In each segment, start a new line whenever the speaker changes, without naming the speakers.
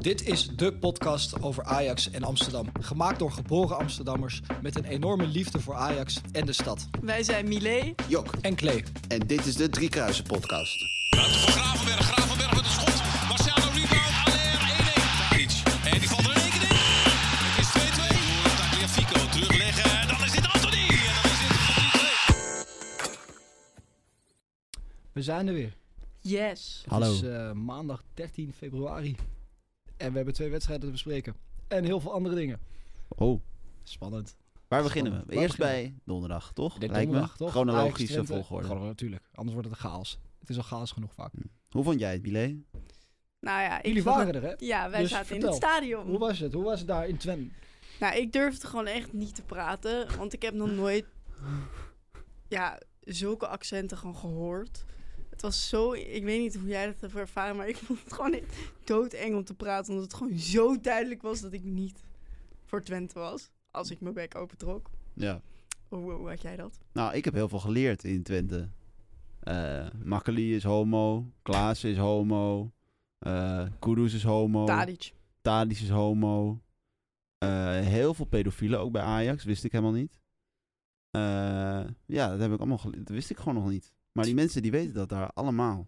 Dit is de podcast over Ajax en Amsterdam. Gemaakt door geboren Amsterdammers met een enorme liefde voor Ajax en de stad.
Wij zijn Milé.
Jok,
En Klee.
en dit is de Driekruisen podcast.
Ruimte voor Gravenberg. Gravenberg met een schot. Marcelo rebound. Aller 1-1. Tadic. En die valt er in één keer in. Het is 2-2. Door Tagliafico terugleggen. En dan is dit Anthony. En dan is dit 3-2.
We zijn er weer.
Yes.
Het Hallo. is eh, maandag 13 februari. En we hebben twee wedstrijden te bespreken. En heel veel andere dingen.
Oh,
Spannend.
waar beginnen we?
Waar
Eerst
beginnen
bij donderdag, toch?
Dit
Lijkt me.
donderdag, toch? Ajax,
Chronologische
Twente.
volgorde.
Gewoon, natuurlijk. Anders wordt het een chaos. Het is al chaos genoeg vaak.
Hoe vond jij het, Bilé?
Nou ja, ik
Jullie
vond
waren
het-
er, hè?
Ja, wij
Dus
zaten in
vertel.
het stadion.
Hoe was het? Hoe was het daar in Twente?
Nou, ik durfde gewoon echt niet te praten, want ik heb nog nooit ja, zulke accenten gewoon gehoord. Het was zo, ik weet niet hoe jij dat hebt ervaren, maar ik vond het gewoon echt doodeng om te praten, omdat het gewoon zo duidelijk was dat ik niet voor Twente was, als ik mijn bek opentrok.
Ja.
Hoe, hoe had jij dat?
Nou, ik heb heel veel geleerd in Twente. Eh Makkeli is homo. Klaas is homo. eh Kudus is homo.
Tadic.
Tadic is homo. Eh, heel veel pedofielen ook bij Ajax, wist ik helemaal niet. Eh, ja, dat heb ik allemaal gele- Dat wist ik gewoon nog niet. Maar die mensen die weten dat daar allemaal.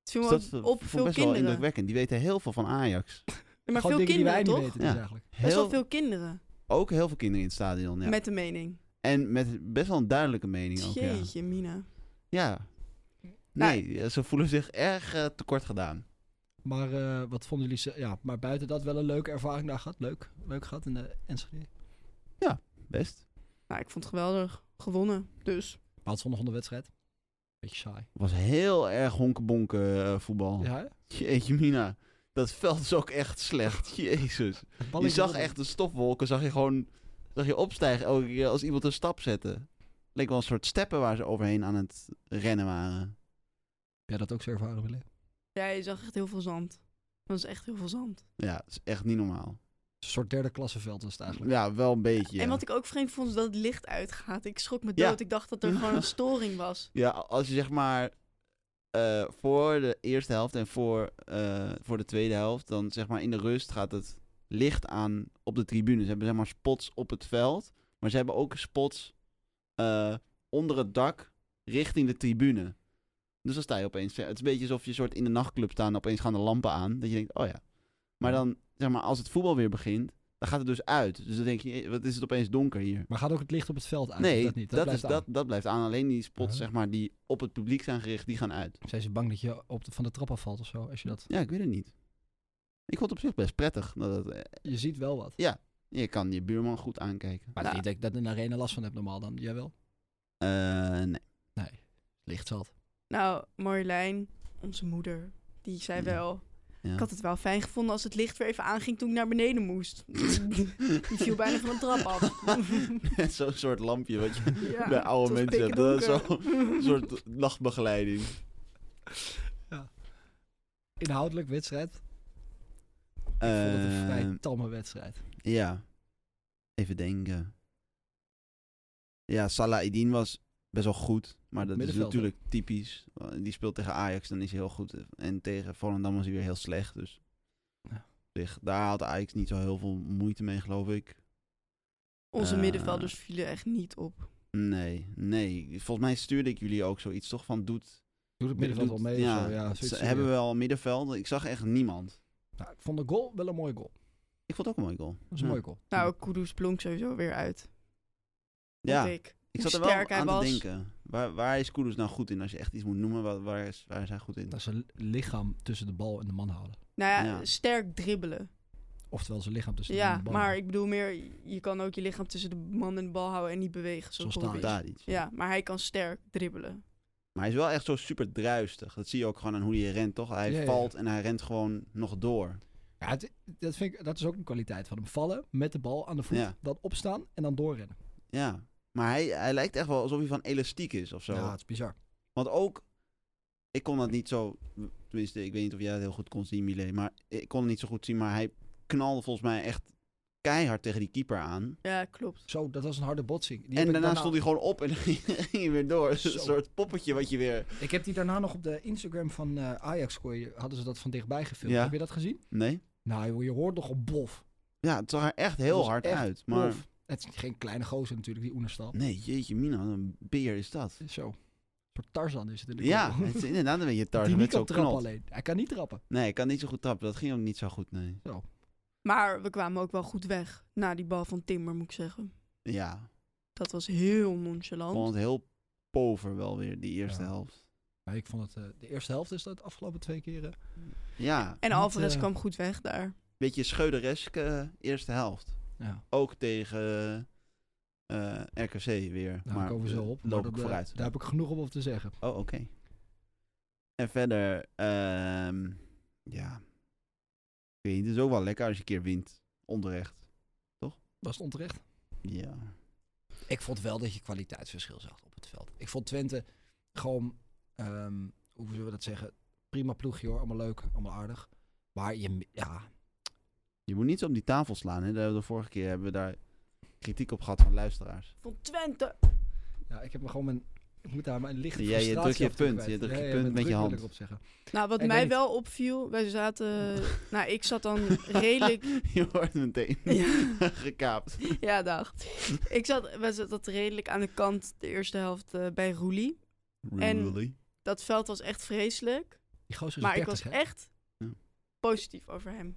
Het viel me
Dus dat
op
vond ik
veel
best wel
kinderen.
indrukwekkend. Die weten heel veel van Ajax.
Ja, maar
Gewoon
veel
dingen die wij
kinderen, toch?
niet weten dus
Ja.
eigenlijk.
Best wel
Heel,
veel kinderen,
Ook heel veel kinderen in het stadion. Ja.
met de mening.
En met best wel een duidelijke mening ook. Ja.
Jeetje, Nou, Mina.
ja. Nee, ze voelen zich erg eh, tekort gedaan.
Maar eh, wat vonden jullie... ze- Ja, maar buiten dat wel een leuke ervaring daar gehad. Leuk. Leuk gehad in de Enschede.
Best.
Nou, ik vond het geweldig. Gewonnen, dus.
Maar het zondag onder wedstrijd. Beetje saai.
Was heel erg honkenbonken eh, voetbal.
Ja, hè?
Jeetje mina. Dat veld is ook echt slecht. Jezus.
Het
Je
balletje
zag
wilde-
echt de stofwolken. Zag je gewoon zag je opstijgen elke keer als iemand een stap zette. Leek wel een soort steppen waar ze overheen aan het rennen waren.
Heb jij dat ook zo ervaren willen?
Ja, je zag echt heel veel zand. Dat was echt heel veel zand.
Ja, dat is echt niet normaal.
Een soort derde klasseveld was het eigenlijk.
Ja, wel een beetje. ja.
En wat ik ook vreemd vond, is dat het licht uitgaat. Ik schrok me
Ja.
dood. Ik dacht dat er gewoon een storing was.
Ja, als je zeg maar eh, voor de eerste helft en voor, eh, voor de tweede helft, dan zeg maar in de rust gaat het licht aan op de tribune. Ze hebben zeg maar spots op het veld, maar ze hebben ook spots eh, onder het dak richting de tribune. Dus dan sta je opeens. Het is een beetje alsof je soort in de nachtclub staat en opeens gaan de lampen aan. Dat je denkt, oh ja. Maar dan, zeg maar, als het voetbal weer begint, dan gaat het dus uit. Dus dan denk je, eh, wat is het opeens donker hier?
Maar gaat ook het licht op het veld uit?
Nee,
dat niet. Dat, blijft
is,
aan.
dat, dat blijft aan. Alleen die spots
Ja.
zeg maar, die op het publiek zijn gericht, die gaan uit.
Zijn ze bang dat je op de- van de trap afvalt of zo? Als je, dat...
Ja, ik weet het niet. Ik vond het op zich best prettig. Dat het, eh,
je ziet wel wat.
je kan je buurman goed aankijken.
Maar
Ja.
niet dat ik dat in de arena last van heb normaal dan. Jij wel?
Eh, nee.
Nee. Licht zat.
Nou, Marjolein, onze moeder, die zei
Ja.
wel...
Ja.
Ik had het wel fijn gevonden als het licht weer even aanging toen ik naar beneden moest. Die viel bijna van een trap af.
Net Zo'n soort lampje wat je
Ja,
bij
het
oude
was
mensen hebt. Dat is
pikdonker.
zo'n soort nachtbegeleiding.
Inhoudelijk wedstrijd. Ik vond het een
Eh,
vrij tamme wedstrijd.
Ja. Even denken. Ja, Salah Edin was best wel goed. Maar dat is
Middenveld, hè?
natuurlijk typisch. Die speelt tegen Ajax, dan is hij heel goed. En tegen Volendam was hij weer heel slecht. Dus
Ja.
zich- daar had Ajax niet zo heel veel moeite mee, geloof ik.
Onze
Eh.
middenvelders vielen echt niet op.
Nee, nee. Volgens mij stuurde ik jullie ook zoiets, toch? Van doet...
Doet het middenveld wel
doet-
mee? of
Ja,
zo? ja
ze
zoiets,
hebben
ja.
we al middenveld. Ik zag echt niemand.
Nou, ik vond de goal wel een mooie goal.
Ik vond het ook een mooie goal.
Dat was een
Ja.
mooie goal.
Nou, Kudus blonk sowieso weer uit.
Ja.
Vond ik. Hoe
Ik zat er wel
sterk hij
aan
was.
te denken. Waar, waar is Kudus nou goed in? Als je echt iets moet noemen, waar, waar, is, waar is hij goed in?
Dat ze lichaam tussen de bal en de man houden.
Nou ja,
Ja.
sterk dribbelen.
Oftewel zijn lichaam tussen de man
ja,
en de bal.
maar ik bedoel meer, je kan ook je lichaam tussen de man en de bal houden en niet bewegen. Zoals
Zoals
Brozovic.
Tadic.
Ja, maar hij kan sterk dribbelen.
Maar hij is wel echt zo super druistig. Dat zie je ook gewoon aan hoe hij rent, toch? Hij
Ja, ja.
valt en hij rent gewoon nog door.
Ja, het- dat, vind ik, dat is ook een kwaliteit van hem. Vallen met de bal aan de voet,
Ja.
dan opstaan en dan doorrennen.
Ja. Maar hij, hij lijkt echt wel alsof hij van elastiek is of zo.
Ja, het is bizar.
Want ook, ik kon dat niet zo... Tenminste, ik weet niet of jij dat heel goed kon zien, Milé. Maar ik kon het niet zo goed zien. Maar hij knalde volgens mij echt keihard tegen die keeper aan.
Ja, klopt.
Zo, dat was een harde botsing. Die heb
en
ik
daarna stond hij gewoon op en ging hij weer door.
Zo.
Een soort poppetje wat je weer...
Ik heb die daarna nog op de Instagram van eh Ajax, kon je- hadden ze dat van dichtbij gefilmd.
Ja.
Heb je dat gezien?
Nee?
Nou joh, je hoort nog op bof.
Ja, het zag er echt heel
was
hard
echt
uit. Maar
Bof. Het is geen kleine gozer natuurlijk, die Oenerstal.
nee, jeetje mina, wat een beer is dat.
Zo. Een soort Tarzan is het in de
Ja,
koppel.
het is inderdaad een beetje tarsen
Die niet
met zo'n
kan trappen
knot.
alleen. Hij kan niet trappen.
Nee, ik kan niet zo goed trappen. Dat ging ook niet zo goed, nee.
Maar we kwamen ook wel goed weg. Na die bal van Timber, moet ik zeggen.
Ja,
Dat was heel
ik
nonchalant.
vond het heel pover wel weer, die eerste
Ja.
helft.
Maar ik vond het, eh, de eerste helft is dat de afgelopen twee keren.
Ja,
en
niet,
Alvarez
eh,
kwam goed weg daar.
beetje scheudereske eerste helft.
Ja,
Ook tegen eh, RKC weer.
daar
maar
komen we zo op. maar
Loop
dat,
ik
eh,
vooruit.
Daar heb ik genoeg op te zeggen.
Oh, oké. En verder, ehm, ja. Ik weet niet, het is ook wel lekker als je een keer wint. Onterecht.
Was het onterecht?
Ja.
Ik vond wel dat je kwaliteitsverschil zag op het veld. Ik vond Twente gewoon, ehm, hoe zullen we dat zeggen? Prima ploegje hoor, allemaal leuk, allemaal aardig. Maar je, ja,
Je moet niet zo op die tafel slaan. Hè? Daar hebben we De vorige keer hebben we daar kritiek op gehad van luisteraars.
Van Twente.
ja, ik heb me gewoon mijn, ik moet daar mijn lichte
Ja, je
frustratie
drukt je
af en toe
punt.
kwijt.
Je drukt
Ja,
je
ja,
punt
mijn
met je
druk wil
hand.
ik op zeggen.
Nou, wat
Ik
mij
weet niet.
wel opviel, wij zaten... nou, ik zat dan redelijk...
je wordt meteen
Ja.
gekaapt.
Ja, dag. Ik zat, we zat redelijk aan de kant de eerste helft eh, bij Roelie. En-
Really?
Dat veld was echt vreselijk.
Die gozer is
Maar ik
30,
was
hè?
echt
Ja.
positief over hem.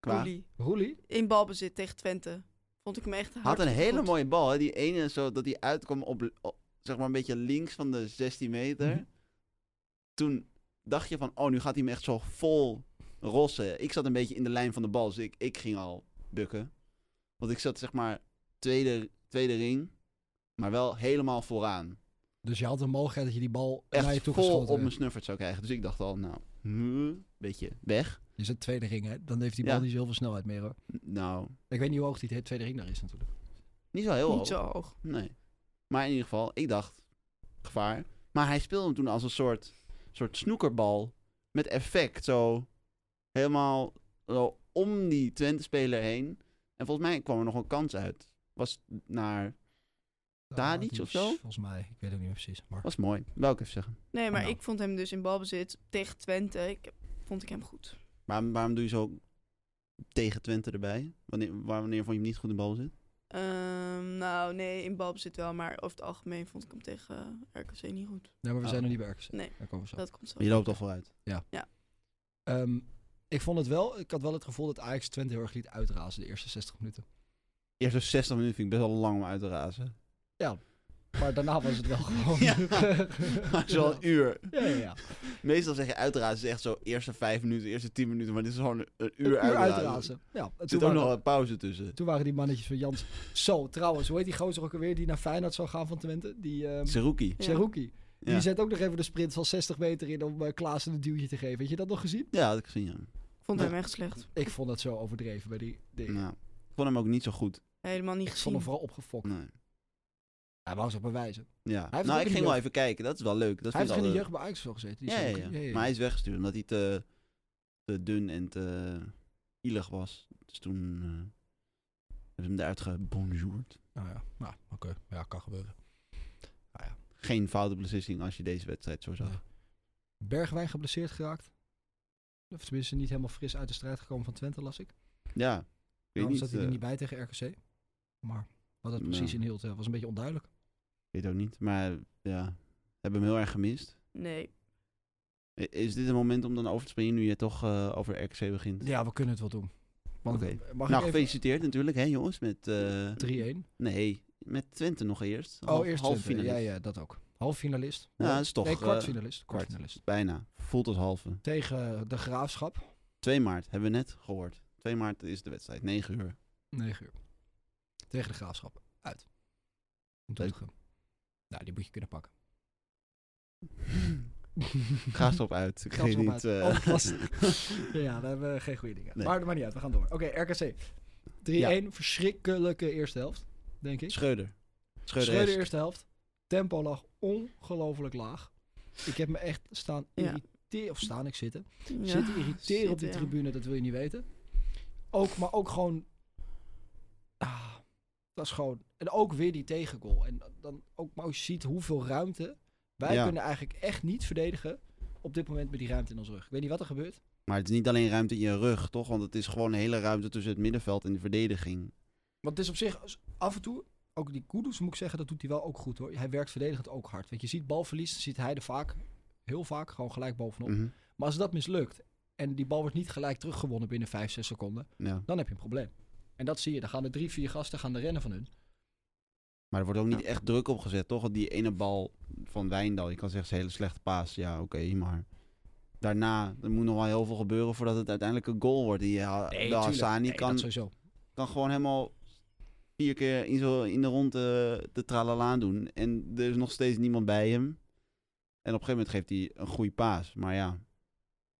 Qua?
Roelie.
Roelie?
In balbezit tegen Twente. Vond ik hem echt
Had een
hartstikke
hele
goed.
mooie bal. Hè? Die ene zo dat die uitkwam op, op, zeg maar een beetje links van de 16 meter.
Mhm.
Toen dacht je van, oh, nu gaat hij me echt zo vol rossen. Ik zat een beetje in de lijn van de bal, dus ik, ik ging al bukken. Want ik zat zeg maar tweede, tweede ring, maar wel helemaal vooraan.
Dus je had de mogelijkheid dat je die bal naar je
Echt
toe
vol
geschoten
op mijn
werd.
snuffert zou krijgen. Dus ik dacht al, nou, hmm, beetje weg.
Je zit tweede ring, hè? Dan heeft die bal
Ja.
niet zoveel snelheid meer, hoor.
N- Nou,
Ik weet niet hoe hoog die tweede ring daar is, natuurlijk.
niet zo heel hoog.
Niet zo hoog.
Nee. Maar in ieder geval, ik dacht, gevaar. Maar hij speelde hem toen als een soort, soort snoekerbal met effect. Zo helemaal zo om die Twente-speler heen. En volgens mij kwam er nog een kans uit. Was naar... Tadic
iets
of zo?
Volgens mij. Ik weet het niet meer precies. Maar
Was mooi, wou ik even zeggen.
Nee, maar
Nou.
ik vond hem dus in balbezit tegen Twente. Ik, vond ik hem goed.
Waarom, waarom doe je zo tegen Twente erbij? Wanneer, waar- wanneer vond je hem niet goed in bal zit?
Ehm, nou, nee, in balbezit wel. Maar over het algemeen vond ik hem tegen eh, RKC niet goed.
Nee, maar we
Oh.
zijn nog niet bij RKC.
Nee.
Daar komen we zo.
Dat komt zo.
Je loopt al vooruit.
Ehm, ik vond het wel, ik had wel het gevoel dat Ajax Twente heel erg liet uitrazen de eerste 60 minuten.
Eerst zo'n 60 minuten vind ik best wel lang om uit te razen.
Maar daarna was het wel gewoon.
Ja. Maar zo'n uur.
Ja, ja, ja.
Meestal zeg je uitrazen is echt zo eerste vijf minuten, eerste tien minuten, maar dit is gewoon een, een uur,
Een uur
uitrazen.
uitrazen. Ja, en
Er
toen,
zit ook
waren,
nog een pauze tussen.
toen waren die mannetjes van Jans. Zo, trouwens, hoe heet die gozer ook alweer die naar Feyenoord zou gaan van Twente? Die ehm
Seruki.
Ja.
Seruki. Die
Ja.
zet ook nog even de sprint van 60 meter in om eh, Klaassen een duwtje te geven. Heb je dat nog gezien?
Ja, had ik gezien, ja.
Ik vond
Ja.
hem echt slecht.
Ik vond dat zo overdreven bij die dingen.
Ja. Nou, Ik vond hem ook niet zo goed.
Helemaal niet
Ik vond hem
gezien.
vooral opgefokt.
Nee.
Hij wou zich bewijzen.
Ja.
heeft ook
Nou,
in
ik
de
ging wel
jeugd-
even kijken. Dat is wel leuk.
hij
Dat vind
heeft
ik
geen
altijd-
jeugd bij Ajax wel gezeten. die
Ja, ja,
Seruki.
ja. Maar hij is weggestuurd omdat hij te, te dun en te ielig was. Dus toen eh, hebben ze hem eruit gebonjourd.
Nou ja, nou, oké. Ja, kan gebeuren.
Geen foute beslissing als je deze wedstrijd zo zag.
Nee. Bergwijn geblesseerd geraakt. Of tenminste niet helemaal fris uit de strijd gekomen van Twente, las ik.
Ja. Ik weet
Daarom
niet.
zat hij er
eh,
niet bij tegen RKC. Maar wat dat
nou.
precies inhield eh, was een beetje onduidelijk.
weet ook niet. Maar ja, hebben hem heel erg gemist.
Nee.
I- Is dit een moment om dan over te springen nu je toch eh, over RKC begint?
Ja, we kunnen het wel doen. Want,
Oké.
eh, Mag
nou,
ik even...
gefeliciteerd natuurlijk, hè jongens, met... eh,
3-1.
nee, met Twente nog eerst.
Oh, eerst
half
half
finalist.
Ja, ja, dat ook. Half finalist.
Ja, dat is toch,
Nee,
eh,
kwartfinalist.
kwart.
kwartfinalist.
Bijna. Voelt als halve.
Tegen eh, de Graafschap.
2 maart, hebben we net gehoord. 2 maart is de wedstrijd, 9 uur.
9 uur. Tegen de Graafschap. Uit. In
Leuk.
Doetinchem. Nou, die moet je kunnen pakken.
Ga stop uit. Ik
Ga
weet
stop uit.
niet... eh,
Oh, lastig. Ja, daar hebben we geen goede dingen.
Nee.
Maar dat maakt niet uit, we gaan door. Oké, RKC. 3-1, verschrikkelijke eerste helft, denk ik.
Schreuder. Schreuder.
Schreuder eerste helft. Tempo lag ongelooflijk laag. Ik heb me echt staan
Ja.
irriteren, of staan ik zitten.
Ja.
Zitten irriteren op die
Zitten, ja.
tribune, dat wil je niet weten. Ook, maar ook gewoon... Ah, dat is gewoon... En ook weer die tegengoal. En dan ook, maar als je ziet hoeveel ruimte... Wij
Ja.
kunnen eigenlijk echt niet verdedigen op dit moment met die ruimte in ons rug. Ik weet niet wat er gebeurt.
Maar het is niet alleen ruimte in je rug, toch? Want het is gewoon een hele ruimte tussen het middenveld en de verdediging.
Want het is op zich s- af en toe, ook die Kudus moet ik zeggen, dat doet hij wel ook goed hoor. Hij werkt verdedigend ook hard. Want je ziet balverlies, dan ziet hij er vaak, heel vaak, gewoon gelijk bovenop.
Mhm.
Maar als dat mislukt en die bal wordt niet gelijk teruggewonnen binnen 5, 6 seconden,
Ja.
dan heb je een probleem. En dat zie je. Dan gaan er drie, vier gasten gaan er rennen van hun.
Maar er wordt ook niet echt druk op gezet, toch? Want die ene bal van Wijndal, je kan zeggen, is een hele slechte paas. Ja, oké, maar... Daarna, er moet nog wel heel veel gebeuren voordat het uiteindelijk een goal wordt. Die ha de
tuurlijk.
Hassani
Nee,
kan,
dat sowieso.
kan gewoon helemaal vier keer in, zo, in de ronde eh, de tralala doen. En er is nog steeds niemand bij hem. En op een gegeven moment geeft hij een goede paas. Maar ja,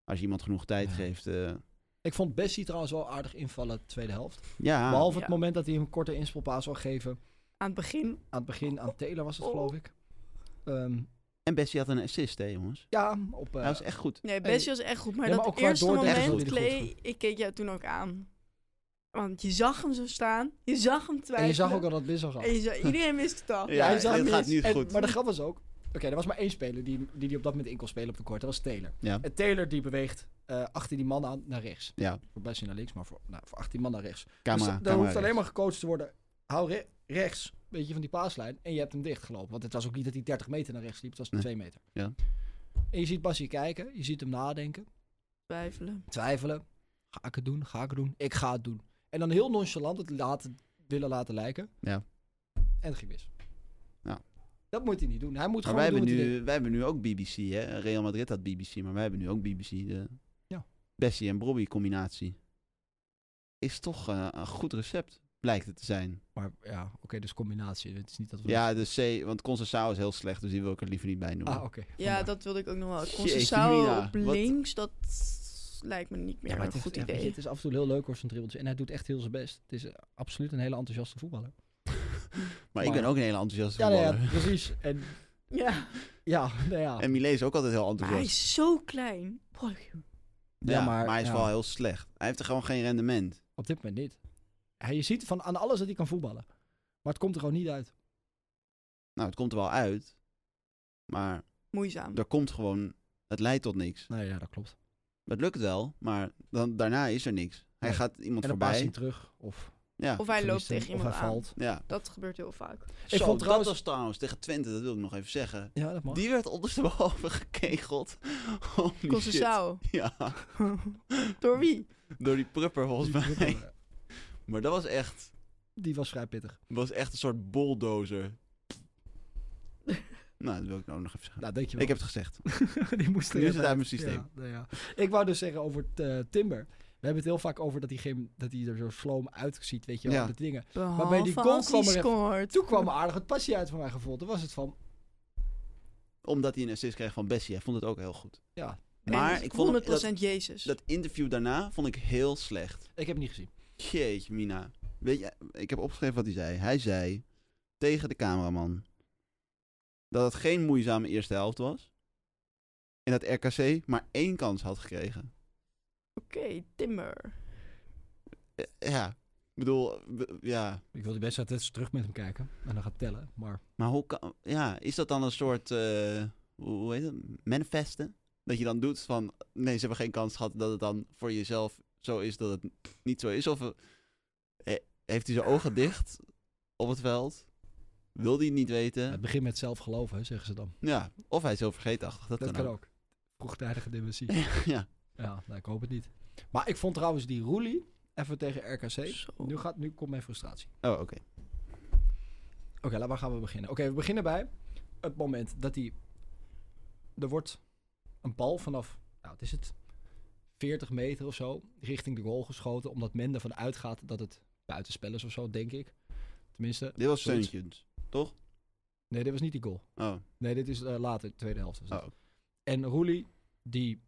als je iemand genoeg tijd
Ja.
geeft... eh,
Ik vond Bessie trouwens wel aardig invallen de tweede helft.
ja,
Behalve het
Ja.
moment dat hij een korte inspelpaas wil geven.
Aan het begin.
Aan het begin, aan Taylor was het geloof ik. Ehm,
en Bessie had een assist, hè jongens.
ja, op... eh,
Hij was echt goed.
Nee,
Hey.
Bessie was echt goed. Maar
Ja, maar
dat
ook qua
eerste
doordekken
vond
moment,
ik die goed.
Klee, ik keek jou toen ook aan. Want je zag hem zo staan. Je zag hem twijfelen.
en je zag ook al dat Bissel gaat.
En je zag- iedereen mist het al.
Ja,
hij zag
het
mis.
gaat niet
En-
goed.
Maar de grap was ook... Oké, er was maar één speler die, die die op dat moment in kon spelen op de kort. Dat was Taylor.
Ja.
En Taylor die beweegt eh, achter die man aan naar rechts.
Ja.
Voor Bessie naar links, maar voor, nou, voor achter die man naar rechts.
Camera,
dus
camera
dan hoeft
rechts.
alleen maar gecoacht te worden. Hou re- rechts, een beetje van die paaslijn. En je hebt hem dichtgelopen. Want het was ook niet dat hij 30 meter naar rechts liep. Het was
Nee.
2 meter.
Ja.
En je ziet Bassie kijken. Je ziet hem nadenken.
Twijfelen.
Twijfelen. Ga ik het doen? Ga ik het doen? Ik ga het doen. En dan heel nonchalant het laten, willen laten lijken.
Ja.
En het ging mis.
Ja.
Dat moet hij niet doen. Hij moet
Maar wij
gewoon doen
hebben,
wat hij deed.
nu, wij hebben nu ook BBC, hè? Real Madrid had BBC, maar wij hebben nu ook BBC. De
Ja.
Bessie en Brobbey combinatie. Is toch eh, een goed recept, blijkt het te zijn.
Maar ja, oké, dus combinatie. Het is niet dat we...
Ja, de C, want Concessao is heel slecht, dus die wil ik er liever niet bij noemen.
Ah, oké.
Ja,
vandaar.
dat wilde ik ook nog wel.
Jeetje,
Concessao
Mina,
op
wat-
links, dat lijkt me niet meer
Ja, maar
een
het, is,
goed
ja, weet
idee.
je, het is af en toe heel leuk hoor, zijn dribbeltje. En hij doet echt heel zijn best. Het is eh, absoluut een hele enthousiaste voetballer.
maar ik ben ook een hele enthousiaste
Ja,
voetballer.
nou ja, precies. En
Ja,
ja, nou ja.
En Milé is ook altijd heel
maar hij
enthousiast.
is zo klein. Boy.
Ja,
Ja,
maar,
maar-
hij is
ja.
wel heel slecht. Hij heeft er gewoon geen rendement.
op dit moment niet. Hij, je ziet van aan alles dat hij kan voetballen. Maar het komt er gewoon niet uit.
Nou, het komt er wel uit, maar
Moeizaam.
er komt gewoon... Het leidt tot niks.
Nee, Nou ja, dat klopt.
Het lukt wel, maar dan, daarna is er niks. Hij
Nee.
gaat iemand
En dan paast
voorbij.
hij terug. Of,
Ja.
Of hij loopt
verliest hem,
tegen
of
iemand
hij
aan.
valt.
ja.
Dat gebeurt heel vaak.
Ik
Zo,
vond trouwens...
dat was trouwens tegen Twente, dat wil ik nog even zeggen.
Ja, dat mag.
Die werd ondersteboven gekegeld. Holy shit.
Concessao.
Ja,
Door wie?
door die prupper volgens
Die-
mij. Maar dat was echt,
Die was vrij pittig.
was echt een soort bulldozer. nou, dat wil ik nou nog even zeggen.
Nou, denk je wel.
ik heb het gezegd.
die moest
Nu
erin
is het uit
blijven.
mijn systeem.
Ja, nou ja. Ik wou dus zeggen over t- eh, Timber. We hebben het heel vaak over dat hij, geen, dat hij er zo sloom uitziet, weet je wel,
Ja.
ja. de dingen.
Behalve
bij die goal
als
kwam
hij
er even-
scoort.
Toen kwam er aardig het passie uit van mijn gevoel. Toen was het van,
Omdat hij een assist kreeg van Bessie. Hij vond het ook heel goed.
ja,
En
Maar ik vond
100%
dat,
Jezus.
dat interview daarna vond ik heel slecht.
ik heb het niet gezien.
Jeetje, Mina. Weet je, ik heb opgeschreven wat hij zei. Hij zei tegen de cameraman dat het geen moeizame eerste helft was. En dat RKC maar één kans had gekregen.
Oké, Timmer.
Eh, Ja, ik bedoel, b- ja.
Ik wil die wedstrijd eens terug met hem kijken. En dan gaat tellen. Maar
Maar hoe kan, ja, is dat dan een soort, eh, hoe hoe heet het, manifesten? Dat je dan doet van, nee, ze hebben geen kans gehad. Dat het dan voor jezelf zo is dat het niet zo is. Of eh, he- heeft hij zijn ogen dicht op het veld? Wil hij het niet weten?
het begint met zelf geloven, hè, zeggen ze dan.
Ja, of hij is heel vergeetachtig. Dat,
Dat
kan,
kan ook. Vroegtijdige dementie.
ook. ja.
Ja, nou, ik hoop het niet. Maar ik vond trouwens die Roelie, even tegen RKC.
Zo.
Nu, gaat, nu komt mijn frustratie.
Oh, oké.
Oké, laat- waar gaan we beginnen? Oké, we beginnen bij het moment dat hij... Er wordt een bal vanaf, nou, het is het 40 meter of zo, richting de goal geschoten. Omdat men ervan uitgaat dat het buitenspel is of zo, denk ik. Tenminste,
Dit was
Zoiets.
Suntjens, toch?
nee, dit was niet die goal.
Oh,
Nee, dit is eh, later, tweede helft. was dit.
Oh.
En Roelie, die,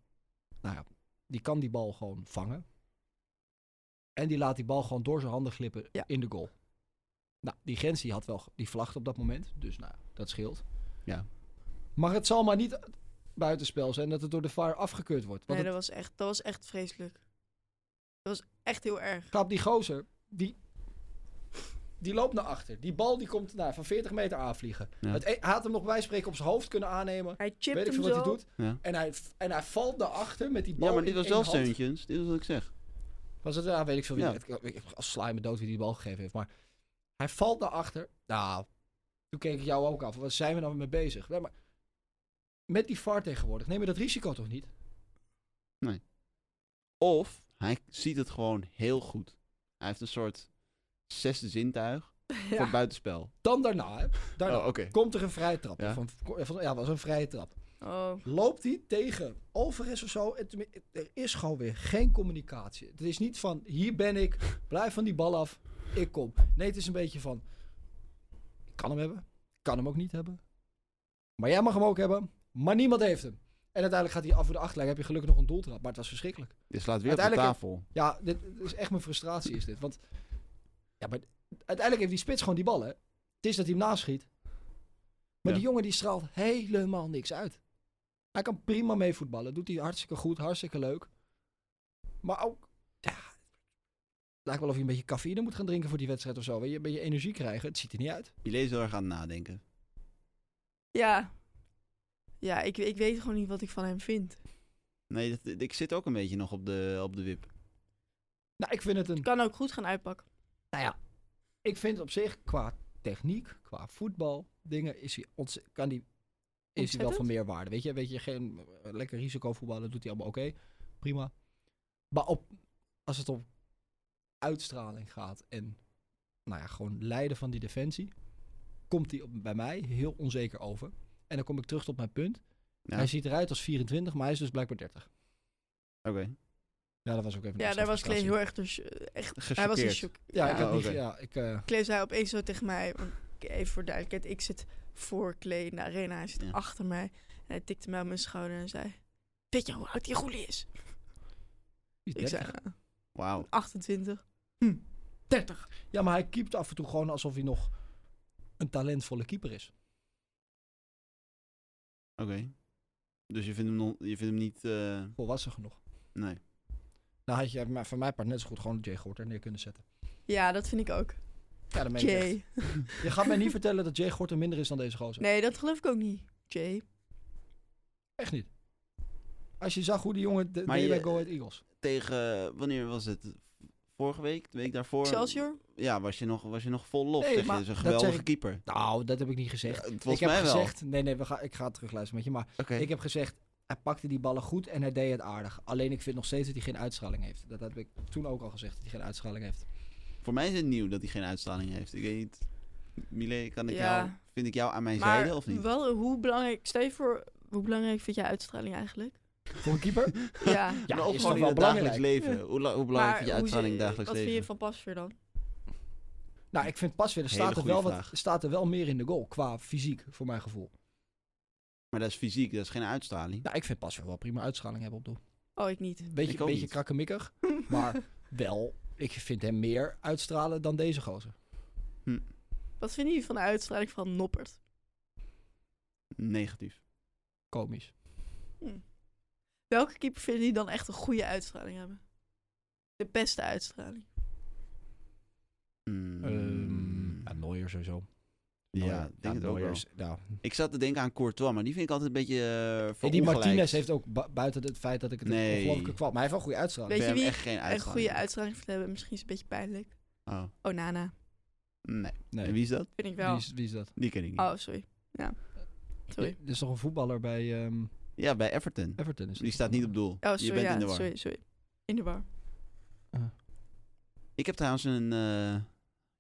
nou ja, die kan die bal gewoon vangen. En die laat die bal gewoon door zijn handen glippen
Ja.
in de goal. Nou, die Gens die had wel, ge- die vlagde op dat moment. Dus nou, ja, dat scheelt.
Ja.
Maar het zal maar niet buitenspel zijn dat het door de VAR afgekeurd wordt. Want
Nee,
het
dat was, echt, dat was echt vreselijk. Dat was echt heel erg.
gaat die gozer, die, die loopt naar achter. Die bal die komt nou, van 40 meter aanvliegen.
Ja.
Het, e- hij had hem nog bij spreken op zijn hoofd kunnen aannemen.
Hij chipt
Weet ik
hem
veel wat
zo.
hij doet.
Ja.
En hij, en hij valt naar achter met die bal.
ja, maar
Oh, in
dit was
één
wel
hand.
steuntjes. Dit is wat ik zeg.
Was het, ja, weet ik veel. Wie,
Ja.
het- ik- ik- als slime dood wie die bal gegeven heeft. Maar hij valt naar achter. Nou, toen keek ik jou ook af. Waar zijn we nou mee bezig? Nee, maar met die VAR tegenwoordig neem je dat risico toch niet?
Of hij ziet het gewoon heel goed. Hij heeft een soort zesde zintuig voor
Ja.
buitenspel.
Dan daarna, hè. daarna
Oh, oké.
komt er een vrije trap.
Ja.
Van, van, ja, was een vrije trap.
Oh.
loopt hij tegen Alvarez of zo. En tenmin- Er is gewoon weer geen communicatie. Het is niet van hier ben ik, blijf van die bal af, ik kom. Nee, het is een beetje van ik kan hem hebben, ik kan hem ook niet hebben. Maar jij mag hem ook hebben, maar niemand heeft hem. En uiteindelijk gaat hij af voor de achterlijn. Heb je gelukkig nog een doeltrap, maar het was verschrikkelijk.
Dit slaat weer op de
Uiteindelijk-
tafel.
Ja, dit, dit is echt mijn frustratie is dit. Want ja, maar uiteindelijk heeft die spits gewoon die bal, hè. Het is dat hij hem naschiet. Maar
Ja.
die jongen die straalt helemaal niks uit. Hij kan prima mee voetballen. Doet hij hartstikke goed, hartstikke leuk. Maar ook, ja, lijkt wel of je een beetje cafeïne moet gaan drinken voor die wedstrijd of zo. Weet je, een beetje energie krijgen. Het ziet er niet uit.
Pile is heel erg aan het nadenken.
Ja. Ja, ik, ik weet gewoon niet wat ik van hem vind.
Nee, dat- ik zit ook een beetje nog op de, op de wip.
Nou, ik vind het een...
Het kan ook goed gaan uitpakken.
Nou ja, ik vind op zich qua techniek, qua voetbal, dingen, is hij, ontze- kan die, is hij wel van
Ontzettend?
meerwaarde. Weet je, weet je, geen eh, lekker risico voetballen, doet hij allemaal oké, prima. Maar op, als het om uitstraling gaat en, nou ja, gewoon leiden van die defensie, komt hij op- bij mij heel onzeker over. En dan kom ik terug tot mijn punt.
Ja.
Hij ziet eruit als 24, maar hij is dus blijkbaar 30.
Oké.
Ja, dat was ook even een
Ja,
extra
daar was Klee
frustratie.
heel erg dus echt. Hij was dus in
Gechoqueerd.
shock.
Ja, ik
Ja,
heb niet...
oké.
Ja, ik, eh,
Klee zei opeens zo tegen mij, want ik- even voor duidelijkheid, ik zit voor Klee in de arena, hij zit
Ja.
achter mij. En hij tikte mij op mijn schouder en zei, weet je hoe oud die goelie is? Ik
30.
zei,
Wauw.
28. 30.
Ja, maar hij keept af en toe gewoon alsof hij nog een talentvolle keeper is.
Oké. Dus je vindt hem, nog, je vindt hem niet... eh,
Volwassen genoeg.
nee.
Nou had je maar van mijn part net zo goed gewoon Jay Gorter neer kunnen zetten.
Ja, dat vind ik ook.
Ja, dan meen ik echt.
Jay.
Je gaat mij niet vertellen dat Jay Gorter minder is dan deze gozer.
Nee, dat geloof ik ook niet. Jay.
Echt niet. Als je zag hoe die jongen de,
Maar
deed
je-
bij Go Ahead Eagles.
Tegen... Wanneer was het? Vorige week? De week daarvoor?
Excelsior?
Ja, was je nog, was je nog vol lof.
Nee,
zeg je.
maar
Dat is een
dat
geweldige
zeg ik-
keeper.
Nou, dat heb ik niet gezegd.
Ja, volgens
ik heb
mij wel.
gezegd, nee, nee, we gaan, ik ga het terugluisteren met je. Maar
Oké.
ik heb gezegd, hij pakte die ballen goed en hij deed het aardig. Alleen ik vind nog steeds dat hij geen uitstraling heeft. Dat heb ik toen ook al gezegd, dat hij geen uitstraling heeft.
Voor mij is het nieuw dat hij geen uitstraling heeft. Ik weet niet. Mile, kan ik
Ja.
jou, vind ik jou aan mijn
Maar
zijde of niet?
wel, hoe belangrijk, stel je voor, hoe belangrijk vind jij uitstraling eigenlijk?
Voor een keeper?
Ja.
Ja,
maar
dat
ook
is
gewoon
toch
in
wel
het dagelijks
belangrijk.
leven. Hoe, la- hoe belangrijk
Maar
vind je
hoe
uitstraling
ze-
in het dagelijks
Wat
leven?
vind je van Pasveer dan?
Nou, ik vind pas weer, er staat
Hele
er, wel
goede
wat,
vraag.
staat er wel meer in de goal qua fysiek, voor mijn gevoel.
Maar dat is fysiek, dat is geen uitstraling.
Nou, ik vind pas wel prima uitschaling hebben op doel.
Oh, ik niet.
Beetje,
Ik ook
beetje
niet.
krakkemikkig, maar wel, ik vind hem meer uitstralen dan deze gozer.
Hm,
Wat vinden jullie van de uitstraling van Noppert?
Negatief.
Komisch.
Welke keeper vinden jullie dan echt een goede uitstraling hebben? De beste uitstraling.
Mm.
Ehm, ja, Neuer sowieso.
ja, ik denk het ook wel.
Nou,
Ik zat te denken aan Courtois, maar die vind ik altijd een beetje eh
hey, die
verongelijkt.
Martinez heeft ook, bu- buiten het feit dat ik het
Nee.
ongelooflijk kwam, maar hij heeft wel goede uitstraling.
Weet je
Ik vind hem
wie
echt geen
Een
uitstraling.
goede uitstraling te hebben, misschien is het een beetje pijnlijk.
Oh,
Oh, Nana.
nee.
Nee,
En wie is dat?
Vind ik wel.
wie, is, wie is dat?
Die ken ik niet.
Oh, sorry. Ja. Sorry.
Er is toch een voetballer bij ehm,
Ja, bij Everton.
Everton? Is
Die staat niet op doel.
Oh,
je
sorry.
bent
ja,
in de war.
Sorry, sorry. In de war.
Ik heb trouwens een eh,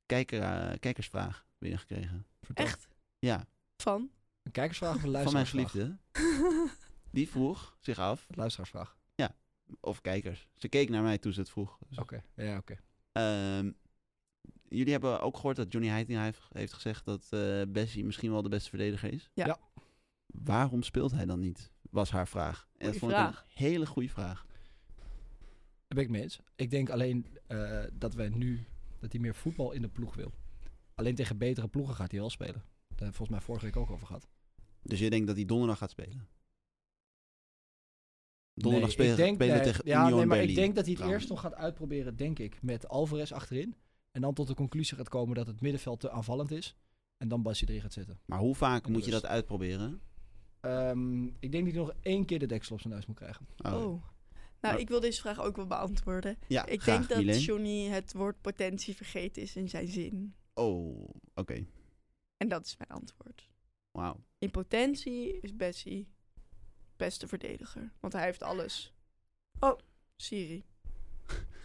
kijker, eh, kijkersvraag binnengekregen.
Vertel.
Echt?
Ja,
Van?
Een kijkersvraag of een
van mijn
luisteraarsvraag?
geliefde. Oh. Die vroeg zich af,
Luisteraarsvraag.
of kijkers. Ze keek naar mij toen ze het vroeg. Dus,
Oké, ja, oké.
ehm, jullie hebben ook gehoord dat Johnny Heitinga heeft, heeft gezegd dat eh Bessie misschien wel de beste verdediger is.
Ja.
Ja.
Waarom speelt hij dan niet? Was haar vraag. En
Goeie
dat vond ik
vraag.
een hele goede vraag.
Daar ben ik mee eens. Ik denk alleen eh, dat wij nu dat hij meer voetbal in de ploeg wil. Alleen tegen betere ploegen gaat hij wel spelen. Daar hebben we volgens mij vorige week ook over gehad.
Dus je denkt dat hij donderdag gaat spelen?
Nee,
Donderdag spelen,
ik denk,
spelen
nee,
tegen
ja,
Union
nee, maar
Berlin.
ik denk dat hij het
trouwens.
eerst nog gaat uitproberen, denk ik, met Alvarez achterin. En dan tot de conclusie gaat komen dat het middenveld te aanvallend is. En dan Bassi erin gaat zitten.
Maar hoe vaak
En
moet je
rust.
dat uitproberen?
Ehm, ik denk dat hij nog één keer de deksel op zijn neus moet krijgen.
Oh.
Oh.
Maar-
Nou, ik wil deze vraag ook wel beantwoorden.
Ja,
Ik
graag,
denk dat
Milene.
Johnny het woord potentie vergeten is in zijn zin.
Oh, oké.
En dat is mijn antwoord.
Wauw.
In potentie is Bessie beste verdediger. Want hij heeft alles. Oh, Siri.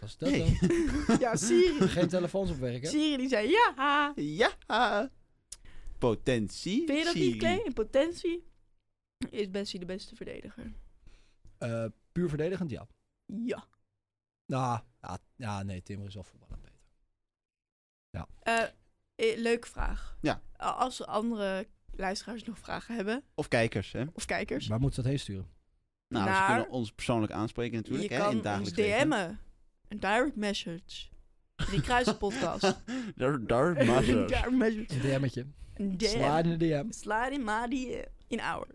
Was dat
Hey.
dan?
ja, Siri.
Geen telefoons op werk, hè?
Siri die zei ja.
Ja! Potentie.
Vind je dat
Siri.
niet, Clay? In potentie is Bessie de beste verdediger.
Eh, puur verdedigend, ja.
Ja.
Nou, ja, ja, nee, Timmer is wel voetballend beter.
Eh, eh, leuke vraag.
Ja.
Eh, Als andere luisteraars nog vragen hebben,
Of kijkers, hè?
of kijkers,
Waar moeten ze dat heen sturen?
Nou, ze
Naar-
kunnen ons persoonlijk aanspreken natuurlijk,
je
hè? In
kan
het
ons
dagelijks leven.
DM'en. Een direct message. Die kruisenpodcast.
Daar, daar, maar
een
zo.
direct message.
Een DM'tje.
Een
Sla
DM.
in de DM.
Sla in maar die eh, in our.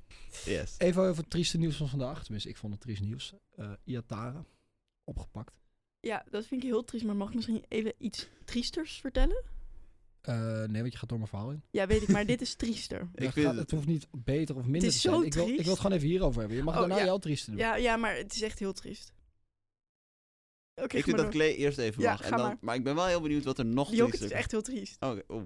Yes.
Even over het trieste nieuws van vandaag. Tenminste, ik vond het triest nieuws. Eh Iatara, opgepakt.
Ja, dat vind ik heel triest, maar mag ik misschien even iets triesters vertellen?
Eh, nee, want je gaat door mijn verhaal in.
Ja, weet ik, maar dit is triester.
Ik
Dat
vind
gaat-
het-
het hoeft niet beter of minder
Het is
te zijn.
zo
ik, wil, ik
triest.
wil het gewoon even hierover hebben. Je mag
Oh,
daarna
ja.
jouw trieste doen.
Ja, ja, maar het is echt heel triest. Oké,
Ik
ga
vind
maar
dat
door.
Clay eerst even
Ja,
mag. En
ga
dan, maar.
maar.
ik ben wel heel benieuwd wat er nog
Jok, het
triester-
is echt heel triest.
Oh, oké, oeh.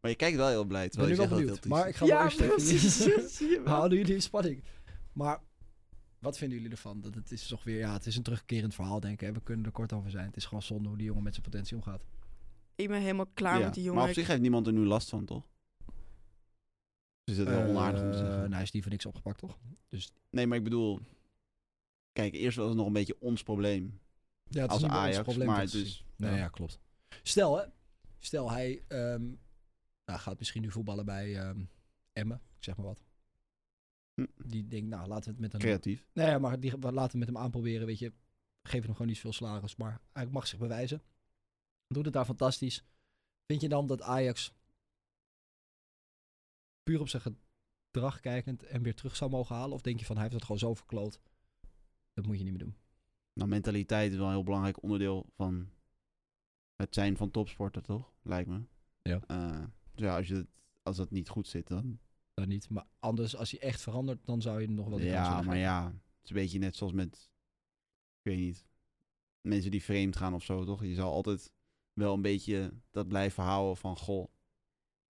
Maar je kijkt wel heel blij,
ik ben
terwijl
nu
je
wel
zegt dat het heel
benieuwd.
triest
Maar
is.
ik ga
ja,
wel
precies.
eerst even...
zie je wel.
Houden jullie in spanning. Maar wat vinden jullie ervan? Dat het is toch weer... Ja, het is een terugkerend verhaal, denk ik. hè. We kunnen er kort over zijn. Het is gewoon zonde hoe die jongen met zijn potentie omgaat.
Ik ben helemaal klaar
Ja,
met die
Maar
jongen.
op zich heeft niemand er nu last van, toch? Dus dat is wel onaardig om te
Eh,
zeggen.
Nou, hij is die voor niks opgepakt, toch?
Nee, maar ik bedoel... Kijk, eerst was het nog een beetje ons probleem.
Ja, het
als
is niet meer ons
Ajax,
probleem.
maar
dat
het
te zien.
is...
Nou
ja.
ja, klopt. Stel, hè. Stel, hij ehm, nou, gaat misschien nu voetballen bij ehm, Emmen. Ik zeg maar wat.
Hm.
Die denkt, nou, laten we het met hem...
Creatief.
Nee, ja, maar die, we laten we met hem aanproberen, weet je. Geef hem gewoon niet veel salaris, maar hij mag zich bewijzen. Doet het daar fantastisch. Vind je dan dat Ajax puur op zijn gedrag kijkend en weer terug zou mogen halen? Of denk je van, hij heeft het gewoon zo verkloot. Dat moet je niet meer doen.
Nou, mentaliteit is wel een heel belangrijk onderdeel van het zijn van topsporter, toch? Lijkt me.
Ja.
Eh, dus ja, als, je dat, als dat niet goed zit, dan...
Dan niet. Maar anders, als hij echt verandert, dan zou je hem nog wel de kans
ja,
willen
maar
geven.
ja. Het is een beetje net zoals met... Ik weet niet. Mensen die vreemd gaan of zo, toch? Je zal altijd wel een beetje dat blijven houden van... Goh,